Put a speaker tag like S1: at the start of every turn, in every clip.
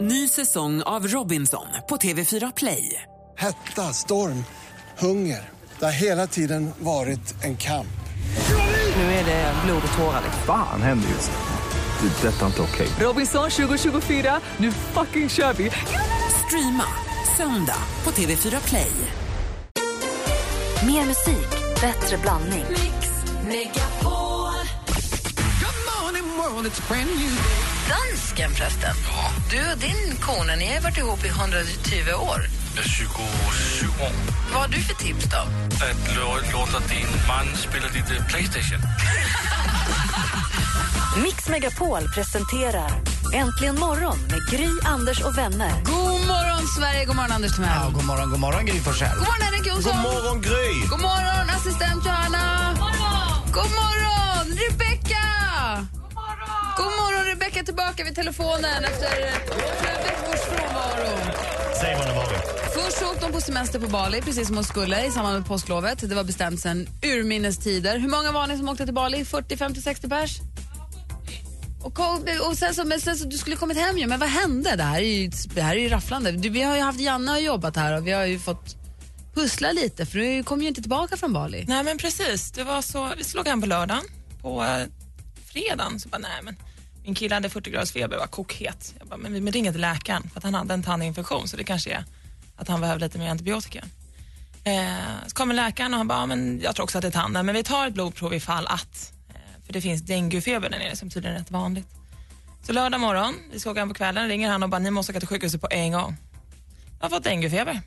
S1: Ny säsong av Robinson på TV4 Play.
S2: Hetta, storm, hunger. Det har hela tiden varit en kamp.
S1: Nu är det blod och tårar.
S3: Fan händer just nu. Det. är Detta är inte okej.
S1: Robinson 2024, nu fucking kör vi! Streama söndag på TV4 Play.
S4: Mer musik, bättre blandning.
S5: Dansken förresten. Du och din kone, ni har varit ihop i 120 år.
S6: 27 år.
S5: Vad har du för tips då?
S6: Att lå- låta din man spela lite øh, Playstation.
S4: Mix Megapol presenterar Äntligen morgon med Gry, Anders och vänner.
S5: God morgon Sverige, god morgon Anders Timell.
S7: Ja, god morgon, god morgon Gry Forssell.
S5: God morgon Henrik Jonsson. God morgon Gry. God morgon assistent Johanna. God morgon. God morgon Rebecka. God morgon. God morgon Rebecka tillbaka vid telefonen efter flera veckors frånvaro.
S8: Säg vad det var.
S5: Först så åkte hon på semester på Bali, precis som hon skulle i samband med påsklovet. Det var bestämt sedan urminnes tider. Hur många var ni som åkte till Bali? 40, 50, 60 pers? Och, kom- och sen så, men sen så, du skulle kommit hem ju, men vad hände? Det här är ju, det här är ju rafflande. Du, vi har ju haft Janne och jobbat här och vi har ju fått pussla lite för du kom ju inte tillbaka från Bali.
S9: Nej men precis, det var så, vi slog an på lördagen. På eh, fredagen så bara, nej men min kille hade 40 graders feber var kokhet. Jag bara, men vi ringer till läkaren för att han hade en tandinfektion så det kanske är att han behöver lite mer antibiotika. Eh, så kommer läkaren och han bara, ja, men jag tror också att det är tanden men vi tar ett blodprov ifall att. Eh, för det finns denguefeber där nere som tydligen är rätt vanligt. Så lördag morgon, vi ska åka hem på kvällen, ringer han och bara, ni måste åka till sjukhuset på en gång. Jag har fått denguefeber.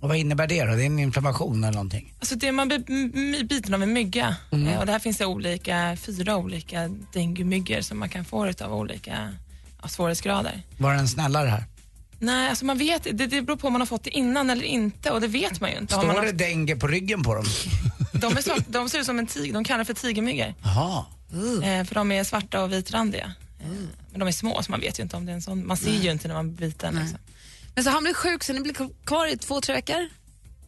S7: Och vad innebär det då? Det är en inflammation eller någonting?
S9: Alltså det man blir m- m- biten av en mygga. Eh, Och det här finns det olika, fyra olika denguemyggor som man kan få utav olika ja, svårighetsgrader.
S7: Var den snällare här?
S9: Nej, alltså man vet det, det beror på om man har fått det innan eller inte och det vet man ju inte. Har man
S7: Står det
S9: haft,
S7: dengue på ryggen på dem?
S9: de, är svart, de ser ut som en tiger, de kallar det för tigermyggor.
S7: Jaha.
S9: Eh, för de är svarta och vitrandiga. Eh, Men de är små så man vet ju inte om det är en sån, man ser ju inte när man blir biten. Liksom.
S5: Men så han blev sjuk så ni blev kvar i två, tre veckor?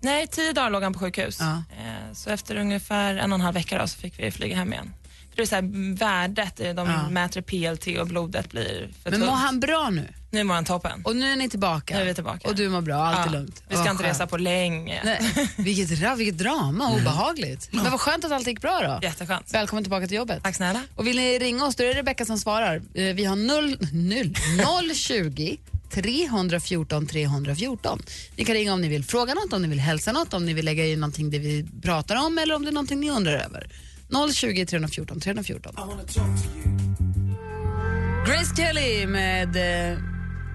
S9: Nej, tio dagar låg han på sjukhus.
S5: Ja.
S9: Eh, Så efter ungefär en och en halv vecka då, så fick vi flyga hem igen. För det är så här, m, värdet, eh, de
S5: Ja.
S9: mäter PLT och blodet blir för
S5: Men mår
S9: tungt.
S5: han bra nu?
S9: Nu mår han toppen.
S5: Och nu är ni tillbaka?
S9: Nu är vi tillbaka.
S5: Och du mår bra, allt är
S9: Ja,
S5: lugnt?
S9: Vi ska
S5: Vad
S9: inte
S5: skönt.
S9: resa på Mm. länge.
S5: Nej, vilket, ra- vilket drama, obehagligt. Men vad skönt att allt gick bra då.
S9: Jätteskönt.
S5: Välkommen tillbaka till jobbet.
S9: Tack snälla.
S5: Och vill ni ringa oss, då är det Rebecka som svarar. Eh, Vi har 0, 0, 020 314 314. Ni kan ringa om ni vill fråga något, om ni vill hälsa något, om ni vill lägga in någonting det vi pratar om eller om det är någonting ni undrar över. 020 314 314. Grace Kelly med eh,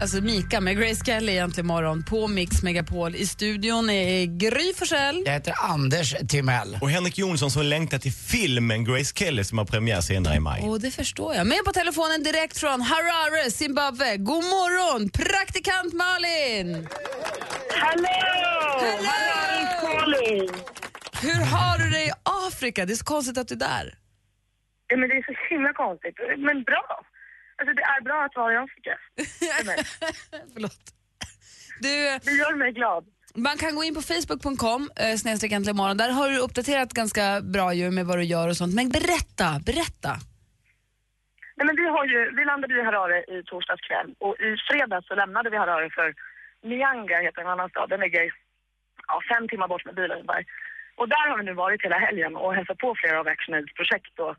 S5: Alltså Mika med Grace Kelly egentligen morgon på Mix Megapol. I studion är Gry Forssell.
S7: Jag heter Anders Timell.
S8: Och Henrik Jonsson som längtar till filmen Grace Kelly som har premiär senare i maj.
S5: Och det förstår jag. Med på telefonen direkt från Harare, Zimbabwe. God morgon, praktikant Malin!
S10: Hallå!
S5: Hallå!
S10: Malin!
S5: Hur har du det i Afrika? Det är så konstigt att du är där.
S10: Ja, men det är så himla konstigt, men bra. Alltså det är bra att vara i Afrika.
S5: Förlåt. Du, eh,
S10: Det gör mig glad.
S5: man kan gå in på facebook.com eh, snedstreck äntligen morgon. Där har du uppdaterat ganska bra ju med vad du gör och sånt. Men berätta, berätta.
S10: Nej, men vi, har ju, vi landade i Harare i torsdags kväll och i fredags så lämnade vi Harare för Nyanga heter en annan stad. Den ligger ja, fem timmar bort med bil ungefär. Och där har vi nu varit hela helgen och hälsat på flera av Action Aids projekt och,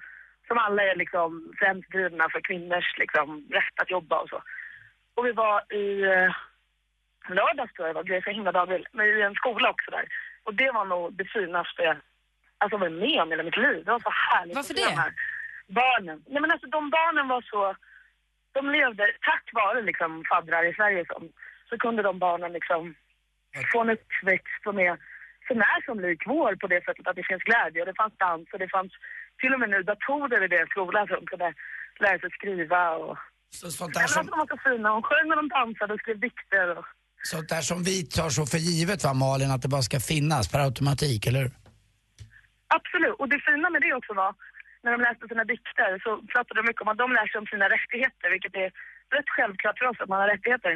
S10: som alla är liksom främst drivna för kvinnors liksom, rätt att jobba och så. Och vi var i eh, lördags tror jag det var, det är så himla dagvill, men i en skola också där. Och det var nog det finaste alltså, jag var med om i hela mitt liv. Det var så härligt.
S5: Varför
S10: att se
S5: det?
S10: de här Barnen. Nej men alltså de barnen var så, de levde tack vare liksom faddrar i Sverige som, så kunde de barnen liksom få en uppväxt som är som är som lik vår på det sättet att det finns glädje och det fanns dans och det fanns till och med nu datorer i deras skola som kunde lära sig skriva och...
S7: Så, sånt,
S10: Ja,
S7: där
S10: men alltså,
S7: som,
S10: de var så fina. Hon sjöng och de dansade och skrev dikter och...
S7: sånt där som vi tar så för givet va Malin, att det bara ska finnas per automatik, eller hur?
S10: Absolut. Och det fina med det också var, när de läste sina dikter så pratade de mycket om att de lär sig om sina rättigheter, vilket är rätt självklart för oss att man har rättigheter.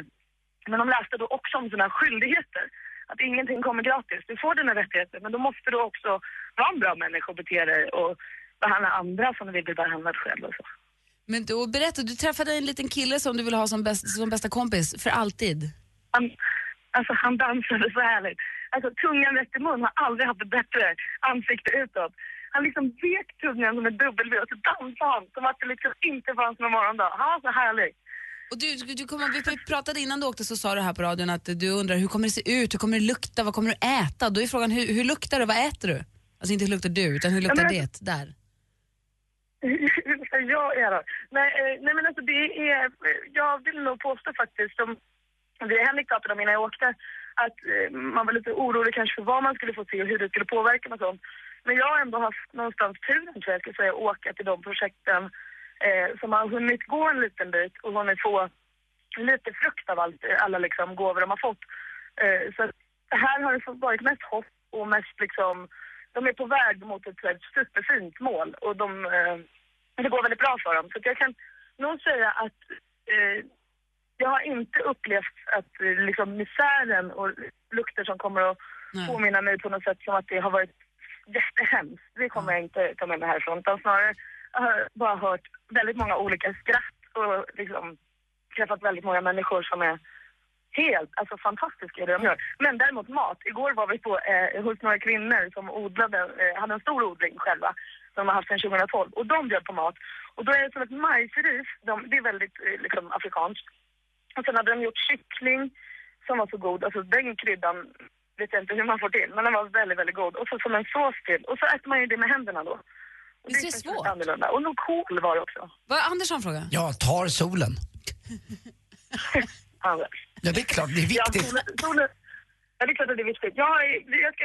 S10: Men de läste då också om sina skyldigheter. Att ingenting kommer gratis. Du får dina rättigheter, men då måste du också vara en bra människa och bete dig och behandla andra som du vill bli behandlad själv och så.
S5: Men du, och berätta, du träffade en liten kille som du ville ha som, bäst, som bästa kompis för alltid.
S10: Han, alltså han dansade så härligt. Alltså tungan rätt i mun har aldrig haft ett bättre ansikte utåt. Han liksom vek tungan som en W och så dansade han som att det liksom inte fanns någon morgondag. Han var så härlig.
S5: Och du, du, du kommer, vi pratade innan du åkte så sa du här på radion att du undrar hur kommer det se ut, hur kommer det lukta, vad kommer du äta? Då är frågan hur, hur luktar det, vad äter du? Alltså inte hur luktar du, utan hur luktar
S10: men-
S5: det där?
S10: jag är då. Nej, eh, nej men alltså det är, jag vill nog påstå faktiskt som vi och Henrik pratade om innan jag åkte att eh, man var lite orolig kanske för vad man skulle få se och hur det skulle påverka och sånt. Men jag har ändå haft någonstans turen tror jag, jag skulle säga, att åka till de projekten eh, som har hunnit gå en liten bit och hunnit få lite frukt av allt, alla liksom gåvor de har fått. Eh, så att här har det varit mest hopp och mest liksom, de är på väg mot ett så här superfint mål och de eh, men det går väldigt bra för dem. Så att jag kan nog säga att eh, jag har inte upplevt att eh, liksom misären och lukter som kommer att
S5: Nej.
S10: påminna mig på något sätt som att det har varit jättehemskt. Det kommer jag inte ta med mig härifrån. Utan snarare jag har jag bara hört väldigt många olika skratt och liksom träffat väldigt många människor som är helt alltså fantastiska i det de gör. Men däremot mat. Igår var vi på, eh, hos några kvinnor som odlade, eh, hade en stor odling själva som de har haft sedan 2012 och de bjöd på mat. Och då är det som ett majsris, de, det är väldigt eh, liksom, afrikanskt. Och sen hade de gjort kyckling som var så god, alltså den kryddan vet jag inte hur man får till, men den var väldigt, väldigt god. Och så som en sås till. Och så äter man ju det med händerna då. Och
S5: Visst är det
S10: känns lite
S5: svårt?
S10: Annorlunda. Och nog kol var det också.
S5: Vad Andersson fråga?
S7: Ja, tar solen.
S10: Andra.
S7: Ja, det är klart, det är
S10: Ja,
S7: viktigt.
S10: solen, solen, ja, det är klart att det är viktigt. Jag, är- jag ska,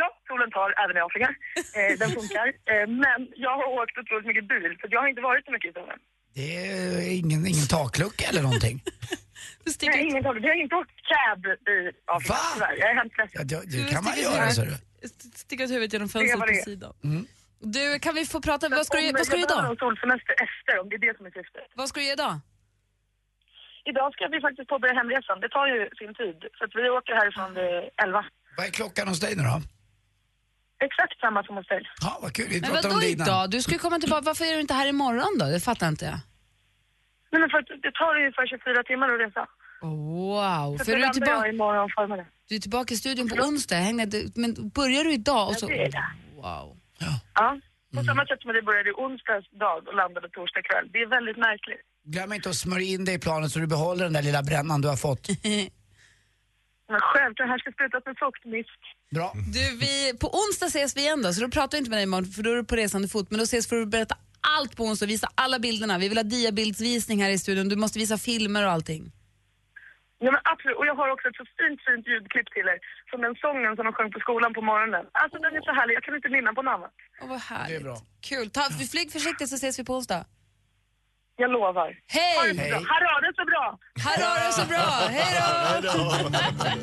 S10: ja, solen tar även i Afrika. Eh, den funkar. Eh, men jag har åkt otroligt mycket bil, så jag har inte varit så mycket i solen.
S7: Det är ingen, ingen taklucka eller någonting.
S5: Du
S10: Nej,
S5: sticker ut,
S10: ingen talar. Vi har inte åkt cab i Afrika,
S7: Va?
S10: tyvärr. Jag är hemskt
S7: Ja,
S10: ledsen.
S7: det,
S5: Du
S7: det kan man
S5: sticker
S7: göra,
S5: ut.
S7: så du. Mm.
S5: st- sticker ut huvudet genom
S10: Det var
S5: fönstret på
S10: det.
S5: sidan. Du, kan vi få prata, vad ska du,
S10: Om
S5: vad ska du
S10: jag
S5: göra
S10: behöver
S5: idag?
S10: en solsemester efter, om det är det som är syftet.
S5: Vad ska du göra idag?
S10: Idag ska vi faktiskt påbörja hemresan. Det tar ju sin tid. Så att vi åker härifrån vid 11.
S7: Vad är klockan hos dig nu då?
S10: Exakt samma som hos dig.
S7: Ja, vad kul. Vi
S5: Men
S7: pratade om
S5: vadå
S7: det innan.
S5: idag? Du ska ju komma tillbaka, varför är du inte här imorgon då? Det fattar inte jag.
S10: Nej, men för att det tar ju för 24 timmar att resa.
S7: Mm.
S5: Wow,
S10: Så då
S5: för du är,
S10: landar jag
S5: tillbaka,
S10: imorgon förmiddag.
S5: du är tillbaka i studion på onsdag, Häng med- du- men börjar du idag? Och så,
S10: det är det.
S5: wow.
S10: Ja. På
S7: Mm.
S10: samma sätt som det började i onsdags dag och landade torsdag kväll. Det är väldigt märkligt.
S7: Glöm inte att smörja in dig i planen så du behåller den där lilla brännan du har fått.
S10: Men självklart, här ska slutas med fuktmist.
S7: Bra.
S5: Du, vi, på onsdag ses vi igen då, så då pratar vi inte med dig imorgon för då är du på resande fot. Men då ses för att berätta allt på onsdag, visa alla bilderna. Vi vill ha diabildsvisning här i studion, du måste visa filmer och allting.
S10: Ja, men absolut. Och jag har också ett så fint, fint ljudklipp till er. Som den sången som de sjöng på skolan på morgonen. Alltså den är så härlig, jag kan inte minna på namnet.
S5: Åh, vad härligt.
S7: Det är bra.
S5: Kul. Ta, flyg försiktigt så ses vi på onsdag.
S10: Jag lovar. Ha det
S5: Hej!
S10: så bra. Här har det så bra!
S5: Här har du så bra! Hej då!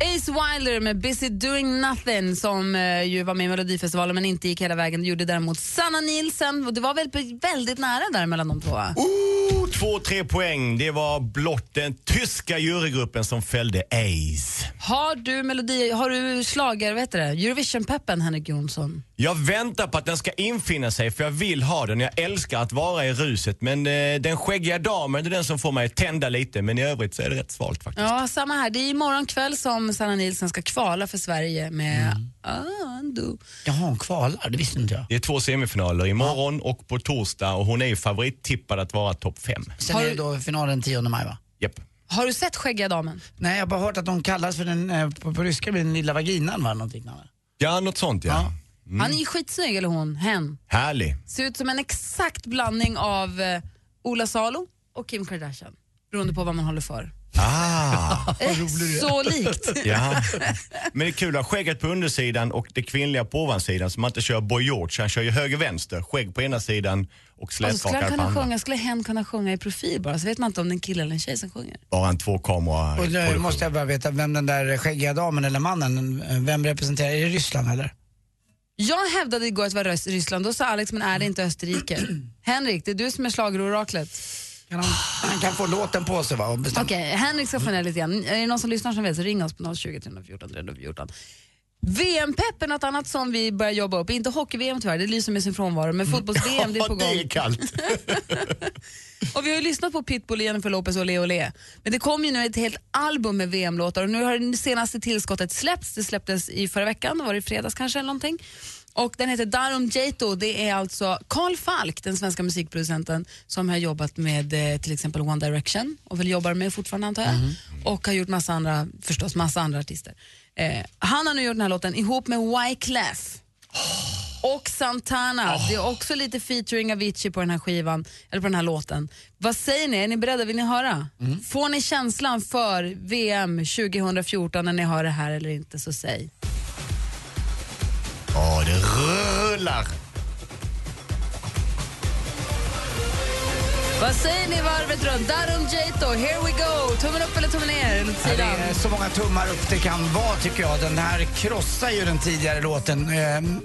S5: Ace Wilder med Busy Doing Nothing som eh, ju var med i Melodifestivalen men inte gick hela vägen. Det gjorde däremot Sanna Nielsen och det var väl väldigt nära där mellan de två va?
S8: Oh, två, tre poäng. Det var blott den tyska jurygruppen som fällde Ace.
S5: Har du melodi, har du slager, vad heter det, Eurovision-peppen Henrik Jonsson?
S8: Jag väntar på att den ska infinna sig för jag vill ha den. Jag älskar att vara i ruset. Men eh, den skäggiga damen det är den som får mig att tända lite. Men i övrigt så är det rätt svalt faktiskt.
S5: Ja, samma här. Det är imorgon kväll som Sanna Nielsen ska kvala för Sverige med Ando.
S7: Jaha, hon kvalar. Det visste inte jag.
S8: Det är två semifinaler imorgon och på torsdag och hon är ju favorittippad att vara topp fem.
S7: Sen
S5: Har
S7: är det
S5: du-
S7: då finalen 10 maj, va?
S8: Japp.
S5: Har du sett Skäggiga damen?
S7: Nej, jag har bara hört att de kallas för den, eh, på, på ryska blir den lilla vaginan, va? Något liknande.
S8: Ja, något sånt ja.
S5: Han är ju skitsnygg, eller hon, hen.
S8: Härlig.
S5: Ser ut som en exakt blandning av eh, Ola Salo och Kim Kardashian. Beroende på vad man håller för.
S8: Ah,
S5: Så likt.
S8: ja. Men det är kul att ha skägget på undersidan och det kvinnliga på ovansidan så man inte kör boy George. Han kör ju höger-vänster, skägg på ena sidan och
S5: Alltså, skulle, han
S8: slätrakad på
S5: kunna
S8: andra.
S5: sjunga, skulle hen kunna sjunga i profil bara så vet man inte om det är en kille eller en tjej som sjunger.
S8: Bara en tvåkamera
S7: Och nu
S8: produktion.
S7: måste jag bara veta vem den där skäggiga damen eller mannen, eh, vem representerar? Är det Ryssland eller?
S5: Jag hävdade igår att det var Rys- Ryssland, då sa Alex men är det inte Österrike? Henrik, det är du som är schlageroraklet.
S7: Kan han, han kan få låten på sig va? och bestämma.
S5: Okej, Henrik ska få ner lite igen. Är det någon som lyssnar som vet så ring oss på 020 314 314. VM-peppen är något annat som vi börjar jobba upp. Inte hockey-VM tyvärr, det lyser med sin frånvaro, men
S7: Mm.
S5: fotbolls-VM det är på
S11: Ja, det
S5: gång.
S11: är kallt.
S5: Och vi har ju lyssnat på Pitbull, Jennifer Lopez och Leo Ole. Men det kom ju nu ett helt album med VM-låtar och nu har det senaste tillskottet släppts. Det släpptes i förra veckan, var det i fredags kanske eller någonting. Och den heter Darum Jato. Det är alltså Carl Falk, den svenska musikproducenten, som har jobbat med eh, till exempel One Direction och väl jobbar med fortfarande antar jag. Och har gjort massa andra, förstås massa andra artister. Eh, han har nu gjort den här låten ihop med Wyclef. Och Santana. Det är också lite featuring Avicii på den här skivan, eller på den här låten. Vad säger ni? Är ni beredda? Vill ni höra?
S7: Mm.
S5: Får ni känslan för VM 2014 när ni hör det här eller inte, så säg.
S11: Ja, det rullar.
S5: Vad säger ni varvet runt? Darum Jato, here we go! Tummen upp eller tummen ner? Eller åt
S7: Ja,
S5: sidan?
S7: Det är så många tummar upp det kan vara tycker jag. Den här krossar ju den tidigare låten. Ehm,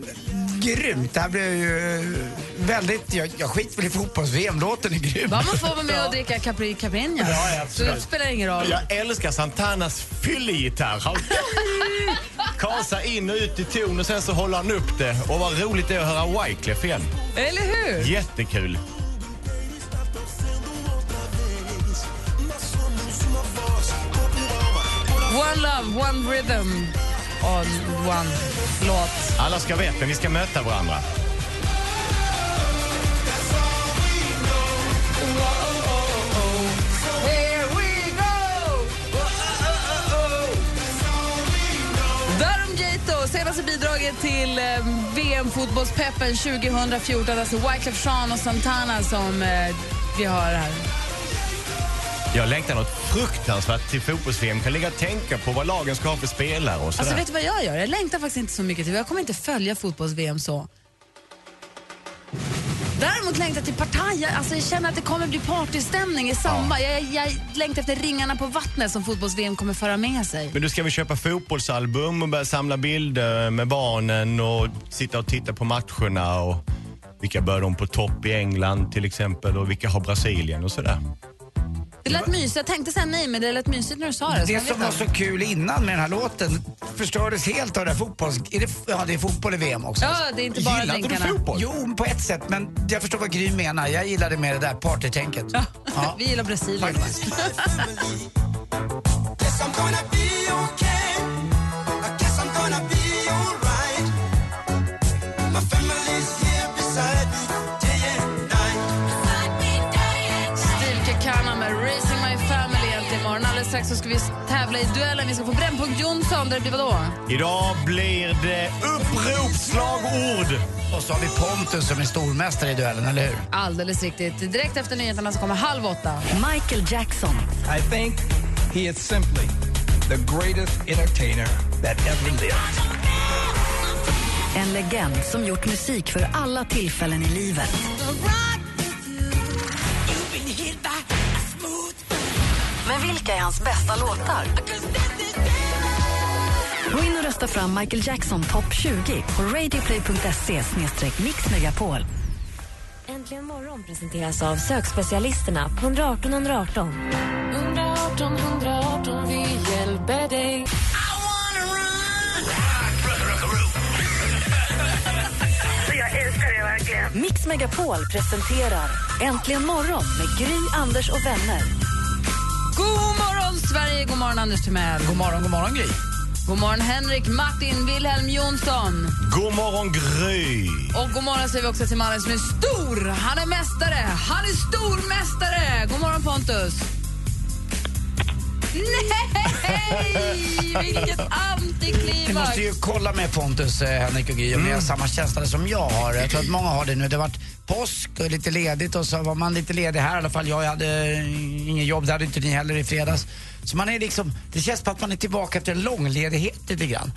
S7: grymt. Det här blev ju eh, väldigt... Jag, jag skiter väl i fotbolls-VM-låten är grym.
S5: Bara man får vara med och dricka Capri Caprinia
S7: Ja, ja,
S5: så
S7: absolut.
S5: det spelar ingen roll.
S8: Jag älskar Santanas fyllegitarr. Han kasar in och ut i ton och sen så håller han upp det. Och vad roligt det är att höra Wyclef igen.
S5: Eller hur?
S8: Jättekul.
S5: One love, one rhythm, on one låt.
S8: Alla ska veta, vi ska möta varandra.
S5: Here we go! Darum Jato, senaste bidraget till eh, VM-fotbollspeppen 2014. Alltså Wyclef Jean och Santana som eh, vi hör här.
S8: Jag längtar något fruktansvärt till fotbolls Kan ligga och tänka på vad lagen ska ha för spelare och sådär.
S5: Alltså vet du vad jag gör? Jag längtar faktiskt inte så mycket till Jag kommer inte följa fotbolls-VM så. Däremot längtar jag till Partaj. Jag- Alltså jag känner att det kommer bli partystämning i samband. Jag, jag längtar efter ringarna på vattnet som fotbolls-VM kommer föra med sig.
S8: Men du ska vi köpa fotbollsalbum och börja samla bilder med barnen och sitta och titta på matcherna och vilka bör de på topp i England till exempel och vilka har Brasilien och sådär.
S5: Det lät mysigt. Jag tänkte säga nej, men det lät mysigt när du sa det. så jag
S7: Det
S5: vet
S7: som
S5: inte.
S7: var så kul innan med den här låten förstördes helt av det här fotbolls... Är det, ja, det är fotboll i VM också.
S5: Ja, det är inte bara
S7: Gillar
S5: länkarna.
S7: Jo, på ett sätt. Men jag förstår vad Gry menar. Jag gillade mer det där partytänket. Ja.
S5: Vi gillar Brasilien. Steve Kekana med Raising My Family egentligen imorgon. Alldeles strax så ska vi tävla i duellen. Vi ska få Brännpunkt Jonsson där det blir vadå?
S8: Idag blir det uppropsslagord.
S7: Och så har vi Pontus som är stormästare i duellen, eller hur?
S5: Alldeles riktigt. Direkt efter nyheterna så kommer halv åtta.
S4: Michael Jackson,
S12: I think he is simply the greatest entertainer that ever lived.
S4: en legend som gjort musik för alla tillfällen i livet. Men vilka är hans bästa låtar? Gå in och rösta fram Michael Jackson topp 20 på radioplay.se mixmegapol.
S13: Äntligen morgon presenteras av sökspecialisterna på 118 118.
S14: 118 118, vi hjälper dig.
S10: Jag älskar det verkligen.
S4: Mix Megapol presenterar Äntligen morgon med Gry, Anders och vänner.
S5: God morgon, Sverige! God morgon, Anders Timell. God morgon, god morgon, Gry. God morgon, Henrik Martin Wilhelm Jonsson.
S8: God morgon Gry!
S5: Och god morgon säger vi också till mannen som är stor. Han är mästare. Han är stormästare. God morgon, Pontus. Nej, vilket
S7: Vi
S5: antiklimax!
S7: måste ju kolla med Pontus, eh, Henrik och Gry, om ni har samma känsla som jag har. Jag tror att många har det nu. Det har varit påsk och lite ledigt och så var man lite ledig här i alla fall. Jag hade eh, ingen jobb, det hade inte ni heller i fredags. Så man är liksom, det känns på att man är tillbaka efter en lång ledighet lite grann.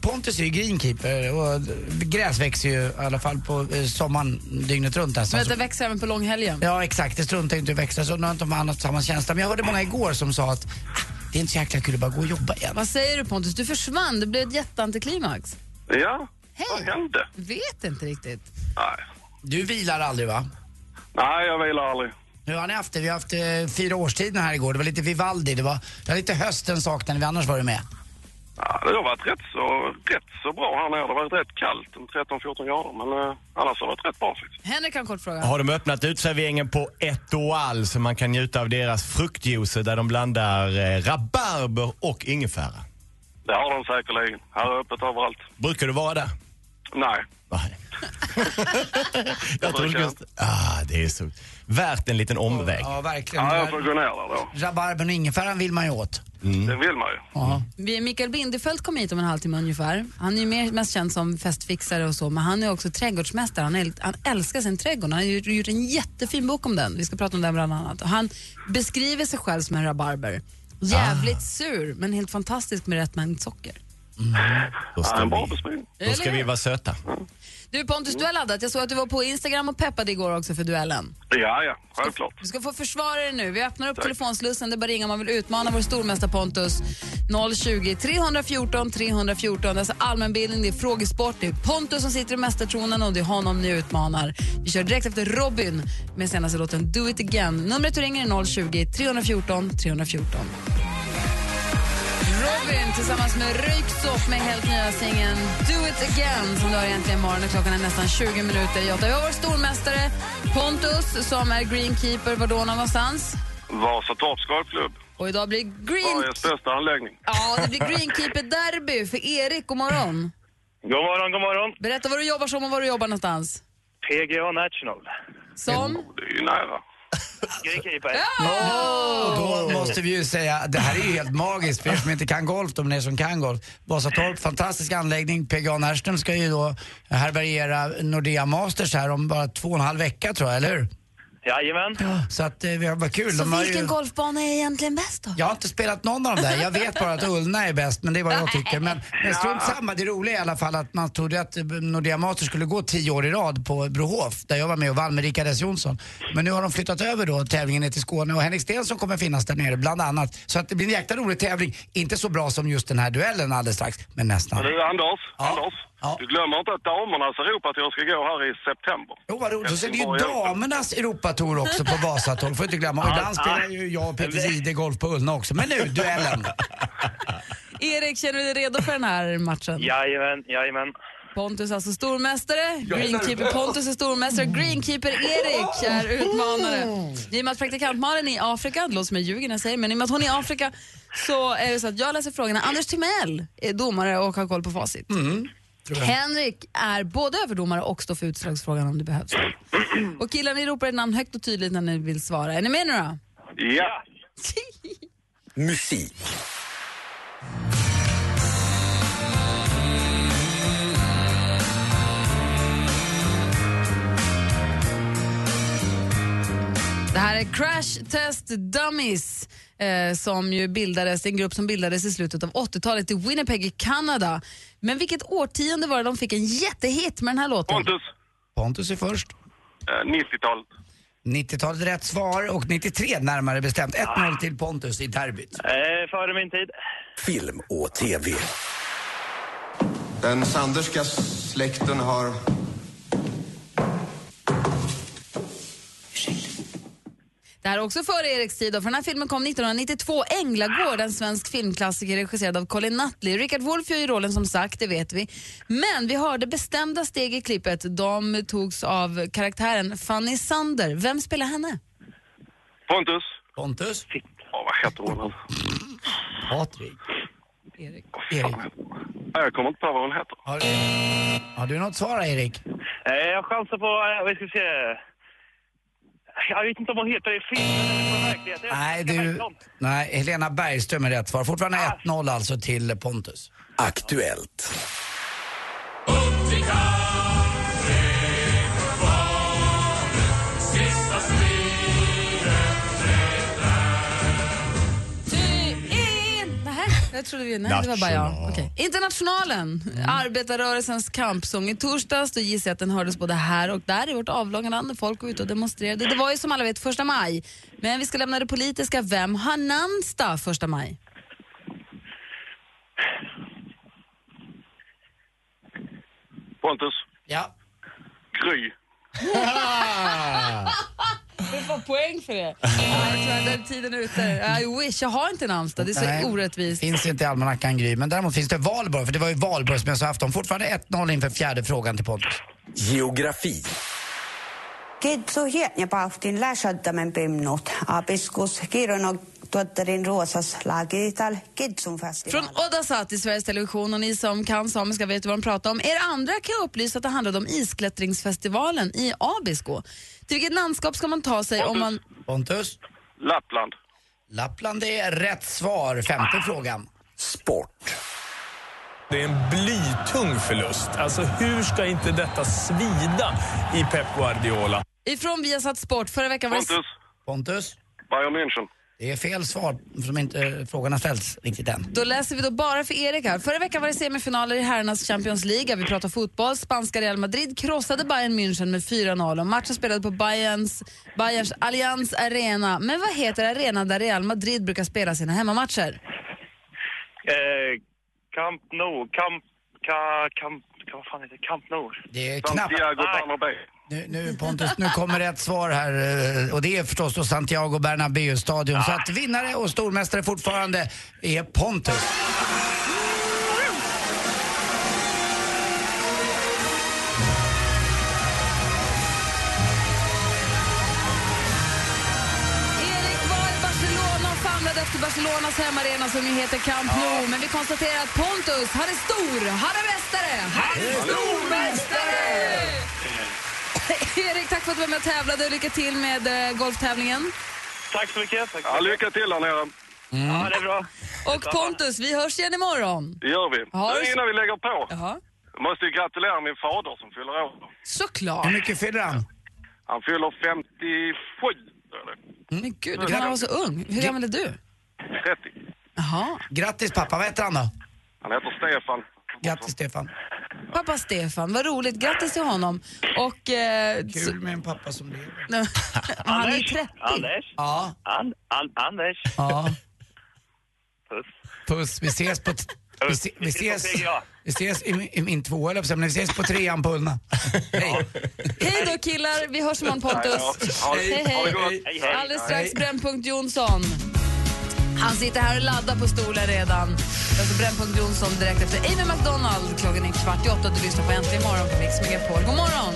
S7: Pontus är ju greenkeeper Eh, och gräs växer ju i alla fall på eh, sommaren dygnet runt
S5: Så
S7: nästan.
S5: att det växer även på långhelgen.
S7: Ja, exakt. Det struntar ju inte i att växla, så nu har inte de andra samma känsla. Men jag hörde många igår som sa att ah, det är inte så jäkla kul att bara gå och jobba igen.
S5: Vad säger du Pontus? Du försvann. Det blev ett jätteantiklimax.
S15: Ja,
S5: Hej.
S15: vad hände?
S5: Vet inte riktigt.
S15: Nej.
S7: Du vilar aldrig va?
S15: Nej, jag vilar aldrig.
S7: Nu har ni haft det. Vi har haft eh, fyra årstider här igår. Det var lite Vivaldi. Det var, det var lite hösten saknade vi, annars var det med.
S15: Ja, det har varit rätt så, rätt så bra här nere. Det har varit rätt kallt, 13-14 grader, men eh, annars har det varit rätt bra faktiskt.
S5: Henrik har en kort fråga.
S8: Har de öppnat utserveringen på Etoal så man kan njuta av deras fruktjuicer där de blandar eh, rabarber och ingefära?
S15: Det har de säkerligen. Här är öppet överallt.
S8: Brukar du vara där?
S15: Nej.
S8: Nej. Jag tror just, ah, det är så värt en liten omväg.
S7: Ja, verkligen.
S15: Ja, jag får gå ner där då. Mm.
S7: Rabarbern och ingefäran vill man ju åt.
S15: Det vill man ju.
S5: Vi- Mikael Bindefeld kom hit om en halvtimme ungefär. Han är ju mer, mest känd som festfixare och så, men han är också trädgårdsmästare. Han, äl, han älskar sin trädgård. Han har ju gjort en jättefin bok om den. Vi ska prata om den bland annat. Och han beskriver sig själv som en rabarber.
S8: Ah.
S5: Jävligt sur, men helt fantastisk med rätt mängd socker.
S8: Då
S15: Ja, en
S8: ska,
S15: bra
S8: vi,
S15: beskrivning.
S8: då ska vi vara söta.
S5: Du Pontus, du har laddat. Jag såg att du var på Instagram och peppade igår också för duellen.
S15: Ja, ja, självklart.
S5: Du ska få försvara dig nu. Vi öppnar upp telefonslussen. Det är bara att ringa om man vill utmana vår stormästare Pontus. 020 314 314. Det är alltså allmänbildning, det är frågesport, det är Pontus som sitter i mästartronen och det är honom ni utmanar. Vi kör direkt efter Robin med senaste låten Do it again. Numret du ringer är 020 314 314. Robin tillsammans med Röyksopp med helt nya singeln Do it again som du har egentligen imorgon. Och Klockan är nästan 20 minuter i åtta. Vi har vår stormästare Pontus som är greenkeeper. Var då någonstans?
S15: Vasatorps golfklubb.
S5: Och idag blir green...
S15: Sveriges bästa anläggning.
S5: Ja, det blir greenkeeper-derby för Erik. God morgon.
S16: God morgon, god morgon.
S5: Berätta vad du jobbar som och var du jobbar någonstans.
S16: PGA National.
S5: Som?
S15: Det är ju nära.
S16: Greenkeeper.
S7: Och då måste vi ju säga att det här är ju helt magiskt för er som inte kan golf, de är som kan golf. Vasatorp, fantastisk anläggning. PGA Närström ska ju då härbärgera Nordea Masters här om bara två och en halv vecka tror jag, eller hur?
S16: Jajamän.
S7: Så att eh, vi har- vad kul.
S5: Så
S7: de har
S5: vilken
S7: ju...
S5: golfbana är egentligen bäst då?
S7: Jag har inte spelat någon av dem där. Jag vet bara att Ullna är bäst, men det är vad jag tycker. Men, men strunt samma, det roliga är i alla fall att man trodde att eh, Nordea Masters skulle gå tio år i rad på Brohof, där jag var med och vann med Rickard S Jonsson. Men nu har de flyttat över då tävlingen ner till Skåne och Henrik Stenson kommer finnas där nere bland annat. Så att det blir en jäkla rolig tävling. Inte så bra som just den här duellen alldeles strax, men nästan.
S15: Men du, Anders, Anders du glömmer inte att damernas Europatour ska gå här i september.
S7: Jo, vad roligt. Och så är det ju
S15: Helsingborg, Europa.
S7: damernas Europatour också på Vasatorg, får inte glömma. Och ibland spelar ju jag och Peter Jihde golf på Ullna också. Men nu, duellen.
S5: Erik, känner du dig redo för den här matchen?
S16: Jajamän, jajamän.
S5: Pontus alltså stormästare,
S16: Jag är
S5: Greenkeeper
S16: nervös.
S5: Pontus är stormästare och Greenkeeper Erik är utmanare. I och med att praktikant Malin är i Afrika, det låter som jag ljuger när jag säger men i och med att hon är i Afrika så är det så att jag läser frågorna. Anders Timell är domare och har koll på facit. Henrik är både överdomare och står för utslagsfrågan om det behövs. Och killar, ni ropar ett namn högt och tydligt när ni vill svara. Är ni med nu då?
S15: Ja.
S17: Musik.
S5: Det här är Crash Test Dummies eh, som ju bildades, en grupp som bildades i slutet av 80-talet i Winnipeg i Kanada. Men vilket årtionde var det de fick en jättehit med den här låten?
S15: Pontus,
S7: Pontus är först.
S15: eh, 90-tal.
S7: 90-talet är rätt svar och 93 närmare bestämt. 1-0 till Pontus i derbyt.
S16: Eh, före min tid.
S17: Film och TV.
S18: Den Sanderska släkten har...
S5: Det här är också före Eriks tid, då, för den här filmen kom 1992. Änglagård, en svensk filmklassiker regisserad av Colin Nutley. Richard Wolff gör ju rollen som sagt, det vet vi. Men vi hörde bestämda steg i klippet. De togs av karaktären Fanny Sander. Vem spelar henne?
S15: Pontus.
S7: Pontus.
S15: Ja, vad heter hon? alltså?
S7: Patrik.
S15: Erik. Nej, jag kommer inte på vad hon heter.
S7: Har du något svar Erik?
S16: Eh, jag chansar på, eh, vad ska vi se. Jag vet inte om hon heter det i filmen eller på verkligheten.
S7: Nej, du... Nej, Helena Bergström är rätt svar. Fortfarande 1-0 alltså till Pontus.
S17: Aktuellt.
S5: Nähä, Jag trodde vi... Nej, det var bara
S14: National.
S5: jag. Okej. Internationalen, arbetarrörelsens kampsång. I torsdags då gissar jag att den hördes både här och där i vårt avlånga land när folk var ute och demonstrerade. Det var ju som alla vet första maj. Men vi ska lämna det politiska. Vem har namnsdag första maj?
S15: Pontus.
S7: Ja.
S15: Gry.
S5: Det får poäng för det. Nej, tyvärr, den tiden är ute. I wish, jag har inte en Almstad. Det är så
S7: Nej,
S5: orättvist.
S7: Finns inte i almanackan Gry, men däremot finns det valborg, för det var ju valborg som jag sa afton. Fortfarande 1-0 inför fjärde frågan till Pontus.
S17: Geografi.
S19: Kitsuhietnipahtin läsöttämän pimnut. Apiskus kirjono tuottarin ruosas lagital kitsun festival.
S5: Från Oddasatt i Sveriges Television och ni som kan samiska vet vad de pratar om. Er andra kan jag upplysa att det handlade om isklättringsfestivalen i Abisko. Till vilket landskap ska man ta sig om man...
S7: Pontus?
S15: Lappland.
S7: Lappland är rätt svar. Femte frågan.
S17: Sport.
S20: Det är en blytung förlust. Alltså hur ska inte detta svida i Pep Guardiola?
S5: Ifrån Viasat Sport. Förra veckan var det...
S15: Pontus.
S7: Pontus?
S15: Bayern München.
S7: Det är fel svar, som inte eh, frågan har ställts riktigt än.
S5: Då läser vi då bara för Erik här. Förra veckan var det semifinaler i herrarnas Champions League. Vi pratar fotboll. Spanska Real Madrid krossade Bayern München med 4-0 och matchen spelades på Bayerns, Bayerns Allianz Arena. Men vad heter arenan där Real Madrid brukar spela sina hemmamatcher?
S16: Eh, Camp Nou, Camp... Ka, camp vad fan heter det? Camp Nou?
S7: Det är knappt.
S15: Santiago Bernabéu.
S7: Nu, nu Pontus, nu kommer rätt svar här eh, och det är förstås då Santiago Bernabéu stadion. Så att vinnare och stormästare fortfarande är Pontus.
S5: Erik var i Barcelona och famlade efter Barcelonas hemmaarena som ju heter Camp Nou. Men vi konstaterar att Pontus, han är stor, han är mästare, han är stormästare! Erik, tack för att du var med och tävlade och lycka till med eh, golftävlingen.
S16: Tack så mycket. Tack.
S15: Ja, lycka till här nere.
S16: Ja, det är bra.
S5: Och Pontus, vi hörs igen imorgon.
S15: Det gör vi.
S5: Ja,
S15: Nu
S5: det-
S15: innan vi lägger på.
S5: Jaha.
S15: Måste ju gratulera min fader som fyller år.
S5: Såklart.
S7: Hur mycket fyller han?
S15: Han fyller 57. eller?
S5: Men gud, du kan han vara så ung. Hur gammal är du?
S15: 30.
S5: Jaha.
S7: Grattis pappa, vad heter han då?
S15: Han heter Stefan.
S7: Grattis Stefan.
S5: Pappa Stefan, vad roligt. Grattis till honom. Och... Eh, så-
S7: Kul med en pappa som lever.
S5: Nej, men han är ju 30.
S16: Anders?
S7: Ja.
S16: An, an, Anders?
S7: Ja.
S16: Puss.
S7: Puss, vi ses på... T- vi, se- vi ses, vi ses i, min- i min tvåa, höll jag på att säga, men vi ses på trean på Ullna.
S5: Hej då killar, vi hörs imorgon Pontus.
S7: Ja, ja. Ha det-
S5: Hej
S7: ha det gott.
S5: hej.
S7: Hej, hej.
S5: Alldeles strax
S7: Hej.
S5: Brännpunkt Jonsson. Han sitter här och laddar på stolen redan. Alltså Brännpunkt Jonsson direkt efter Amy McDonald. Klockan är kvart i åtta och du lyssnar på Äntligen morgon på Mix Megapol. God morgon!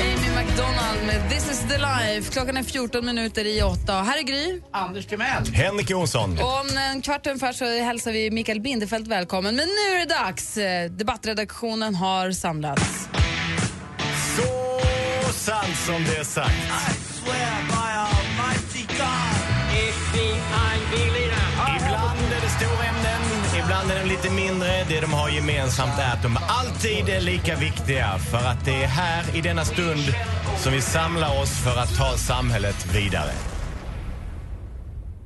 S5: Amy McDonald med This is the life. Klockan är 14 minuter i åtta. Och Här är Gry.
S7: Anders Timell.
S8: Henrik Jonsson.
S5: Och om en kvart ungefär så hälsar vi Mikael Bindefeld välkommen. Men nu är det dags. Eh, Debattredaktionen har samlats.
S8: Så sant som det är sagt. Ibland är det stora ämnen, ibland är de lite mindre. Det de har gemensamt är att de alltid är lika viktiga. För att det är här, i denna stund, som vi samlar oss för att ta samhället vidare.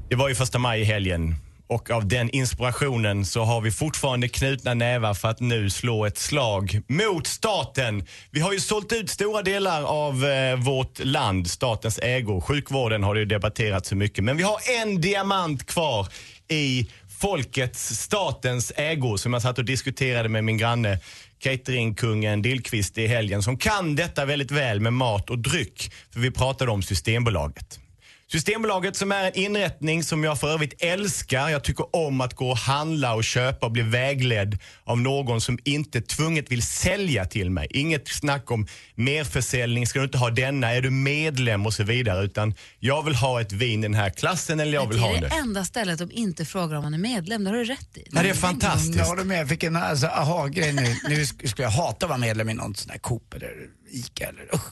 S8: Det var ju första maj i helgen. Och av den inspirationen så har vi fortfarande knutna nävar för att nu slå ett slag mot staten. Vi har ju sålt ut stora delar av eh, vårt land, statens ägor. Sjukvården har det ju debatterats så mycket. Men vi har en diamant kvar i folkets, statens ägor som jag satt och diskuterade med min granne cateringkungen Dillqvist i helgen som kan detta väldigt väl med mat och dryck. För vi pratade om Systembolaget. Systembolaget som är en inrättning som jag för övrigt älskar. Jag tycker om att gå och handla och köpa och bli vägledd av någon som inte tvunget vill sälja till mig. Inget snack om merförsäljning, ska du inte ha denna, är du medlem och så vidare. Utan jag vill ha ett vin i den här klassen eller jag vill ha
S5: det är det
S8: det.
S5: enda stället de inte frågar om man är medlem. Det har du rätt i.
S8: Ja, det är fantastiskt.
S7: Jag håller med, jag fick en alltså, aha-grej nu. Nu sk- skulle jag hata att vara medlem i någon sån här Coop eller Ica eller usch.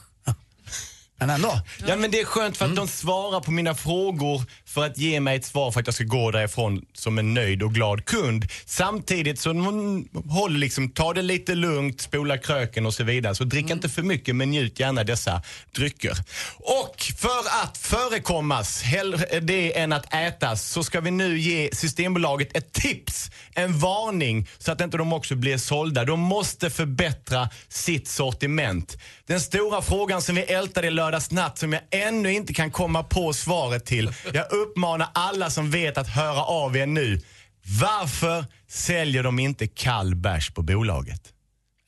S7: Men ändå.
S8: Ja men det är skönt för att de svarar på mina frågor för att ge mig ett svar för att jag ska gå därifrån som en nöjd och glad kund. Samtidigt så hon håller liksom, ta det lite lugnt, spola kröken och så vidare. Så drick inte för mycket men njut gärna dessa drycker. Och för att förekommas hellre det än att ätas så ska vi nu ge Systembolaget ett tips, en varning så att inte de också blir sålda. De måste förbättra sitt sortiment. Den stora frågan som vi ältade i lördags natt som jag ännu inte kan komma på svaret till. Jag uppmanar alla som vet att höra av er nu. Varför säljer de inte kall bärs på bolaget?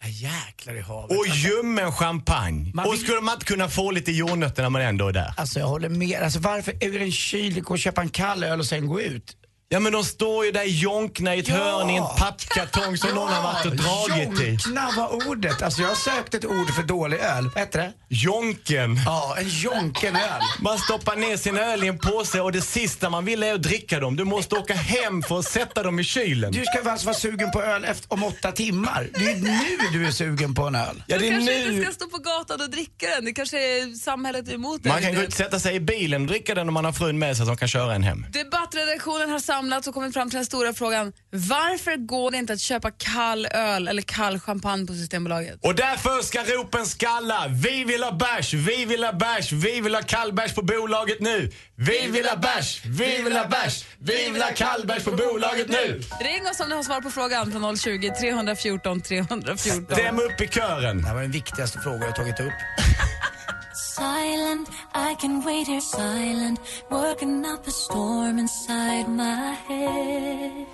S7: Jäklar i havet.
S8: Och ljummen champagne.
S7: Man
S8: Och
S7: vill-
S8: skulle man inte kunna få lite jordnötter när man ändå är där?
S7: Alltså jag håller med. Alltså varför ur en kyl gå och köpa en kall öl och sen gå ut?
S8: Ja men de står ju där jonkna i ett
S7: Ja.
S8: hörn i en pappkartong som någon har varit och dragit i.
S7: Jonkna var ordet. Alltså jag sökte ett ord för dålig öl. Vad heter det?
S8: Jonken.
S7: Ja, en jonken öl.
S8: Man stoppar ner sin öl i en påse och det sista man vill är att dricka dem. Du måste åka hem för att sätta dem i kylen.
S7: Du ska väl alltså vara sugen på öl efter, om åtta timmar? Det är ju nu du är sugen på en öl.
S8: Ja, det
S5: Du
S8: är
S5: kanske inte
S8: nu.
S5: ska stå på gatan och dricka den. Det kanske är samhället emot dig.
S8: Man kan gå ut och sätta sig i bilen och dricka den om man har frun med sig som kan köra en hem.
S5: Debattredaktionen har samlats och kommit fram till den stora frågan. Varför går det inte att köpa kall öl eller kall champagne på Systembolaget?
S8: Och därför ska ropen skalla. Vi vill ha bärs, vi vill ha bärs, vi vill ha kallbärs på bolaget nu. Vi vill ha bärs, vi vill ha bärs, vi vill ha kallbärs på bolaget nu.
S5: Ring oss om ni har svar på frågan från 020 314 314.
S8: Stäm upp i kören.
S7: Det här var den viktigaste frågan jag tagit upp.
S10: Silent, I can wait here silent Working up a storm inside my head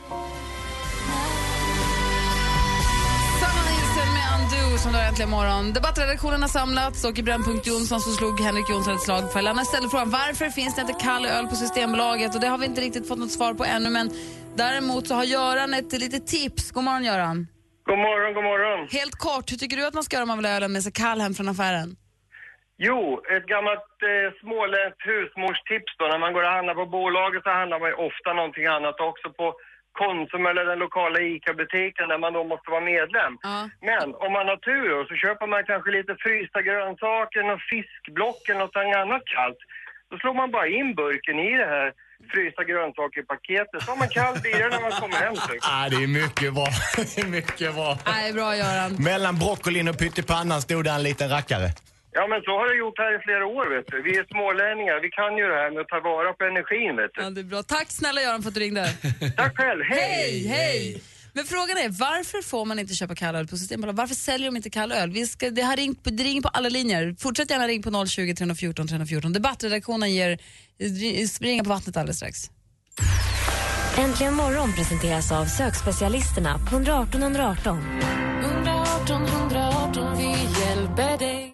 S5: Sanna Nielsen med Undo som du har äntligen morgon. Debattredaktionen har samlats och i Brännpunkt Jonsson så slog Henrik Jonsson ett slag för Lanna ställde frågan varför finns det inte kall öl på Systembolaget och det har vi inte riktigt fått något svar på ännu men däremot så har Göran ett litet tips. God morgon Göran.
S15: God morgon, god morgon.
S5: Helt kort, hur tycker du att man ska göra om man vill ha ölen med sig kall hem från affären?
S15: Jo, ett gammalt eh, småländskt husmorstips då. När man går och handlar på bolaget så handlar man ju ofta någonting annat också på Konsum eller den lokala ICA-butiken där man då måste vara medlem. Men om man har tur då, så köper man kanske lite frysta grönsaker, och fiskblock eller något annat kallt. Då slår man bara in burken i det här frysta grönsaker-paketet. Så har man kall bira när man kommer hem. typ.
S8: Ah, det är mycket bra. Det är mycket bra.
S5: Nej, bra Göran.
S8: Mellan broccolin och pyttipannan stod det en liten rackare.
S15: Ja, men så har jag gjort här i flera år, vet du. Vi är smålänningar, vi kan ju det här med att ta vara på energin, vet du.
S5: Ja, det är bra. Tack snälla Göran för att du ringde.
S15: Tack själv,
S5: hej! Hej, Men frågan är, varför får man inte köpa kall öl på Systembolaget? Varför säljer de inte kall öl? Vi ska, det, har ringt, på- det ringer på alla linjer. Fortsätt gärna ring på 020 314 314. Debattredaktionen ger springa på vattnet alldeles strax.
S21: Äntligen morgon presenteras av sökspecialisterna på 118 118.
S10: 118 118 vi hjälper dig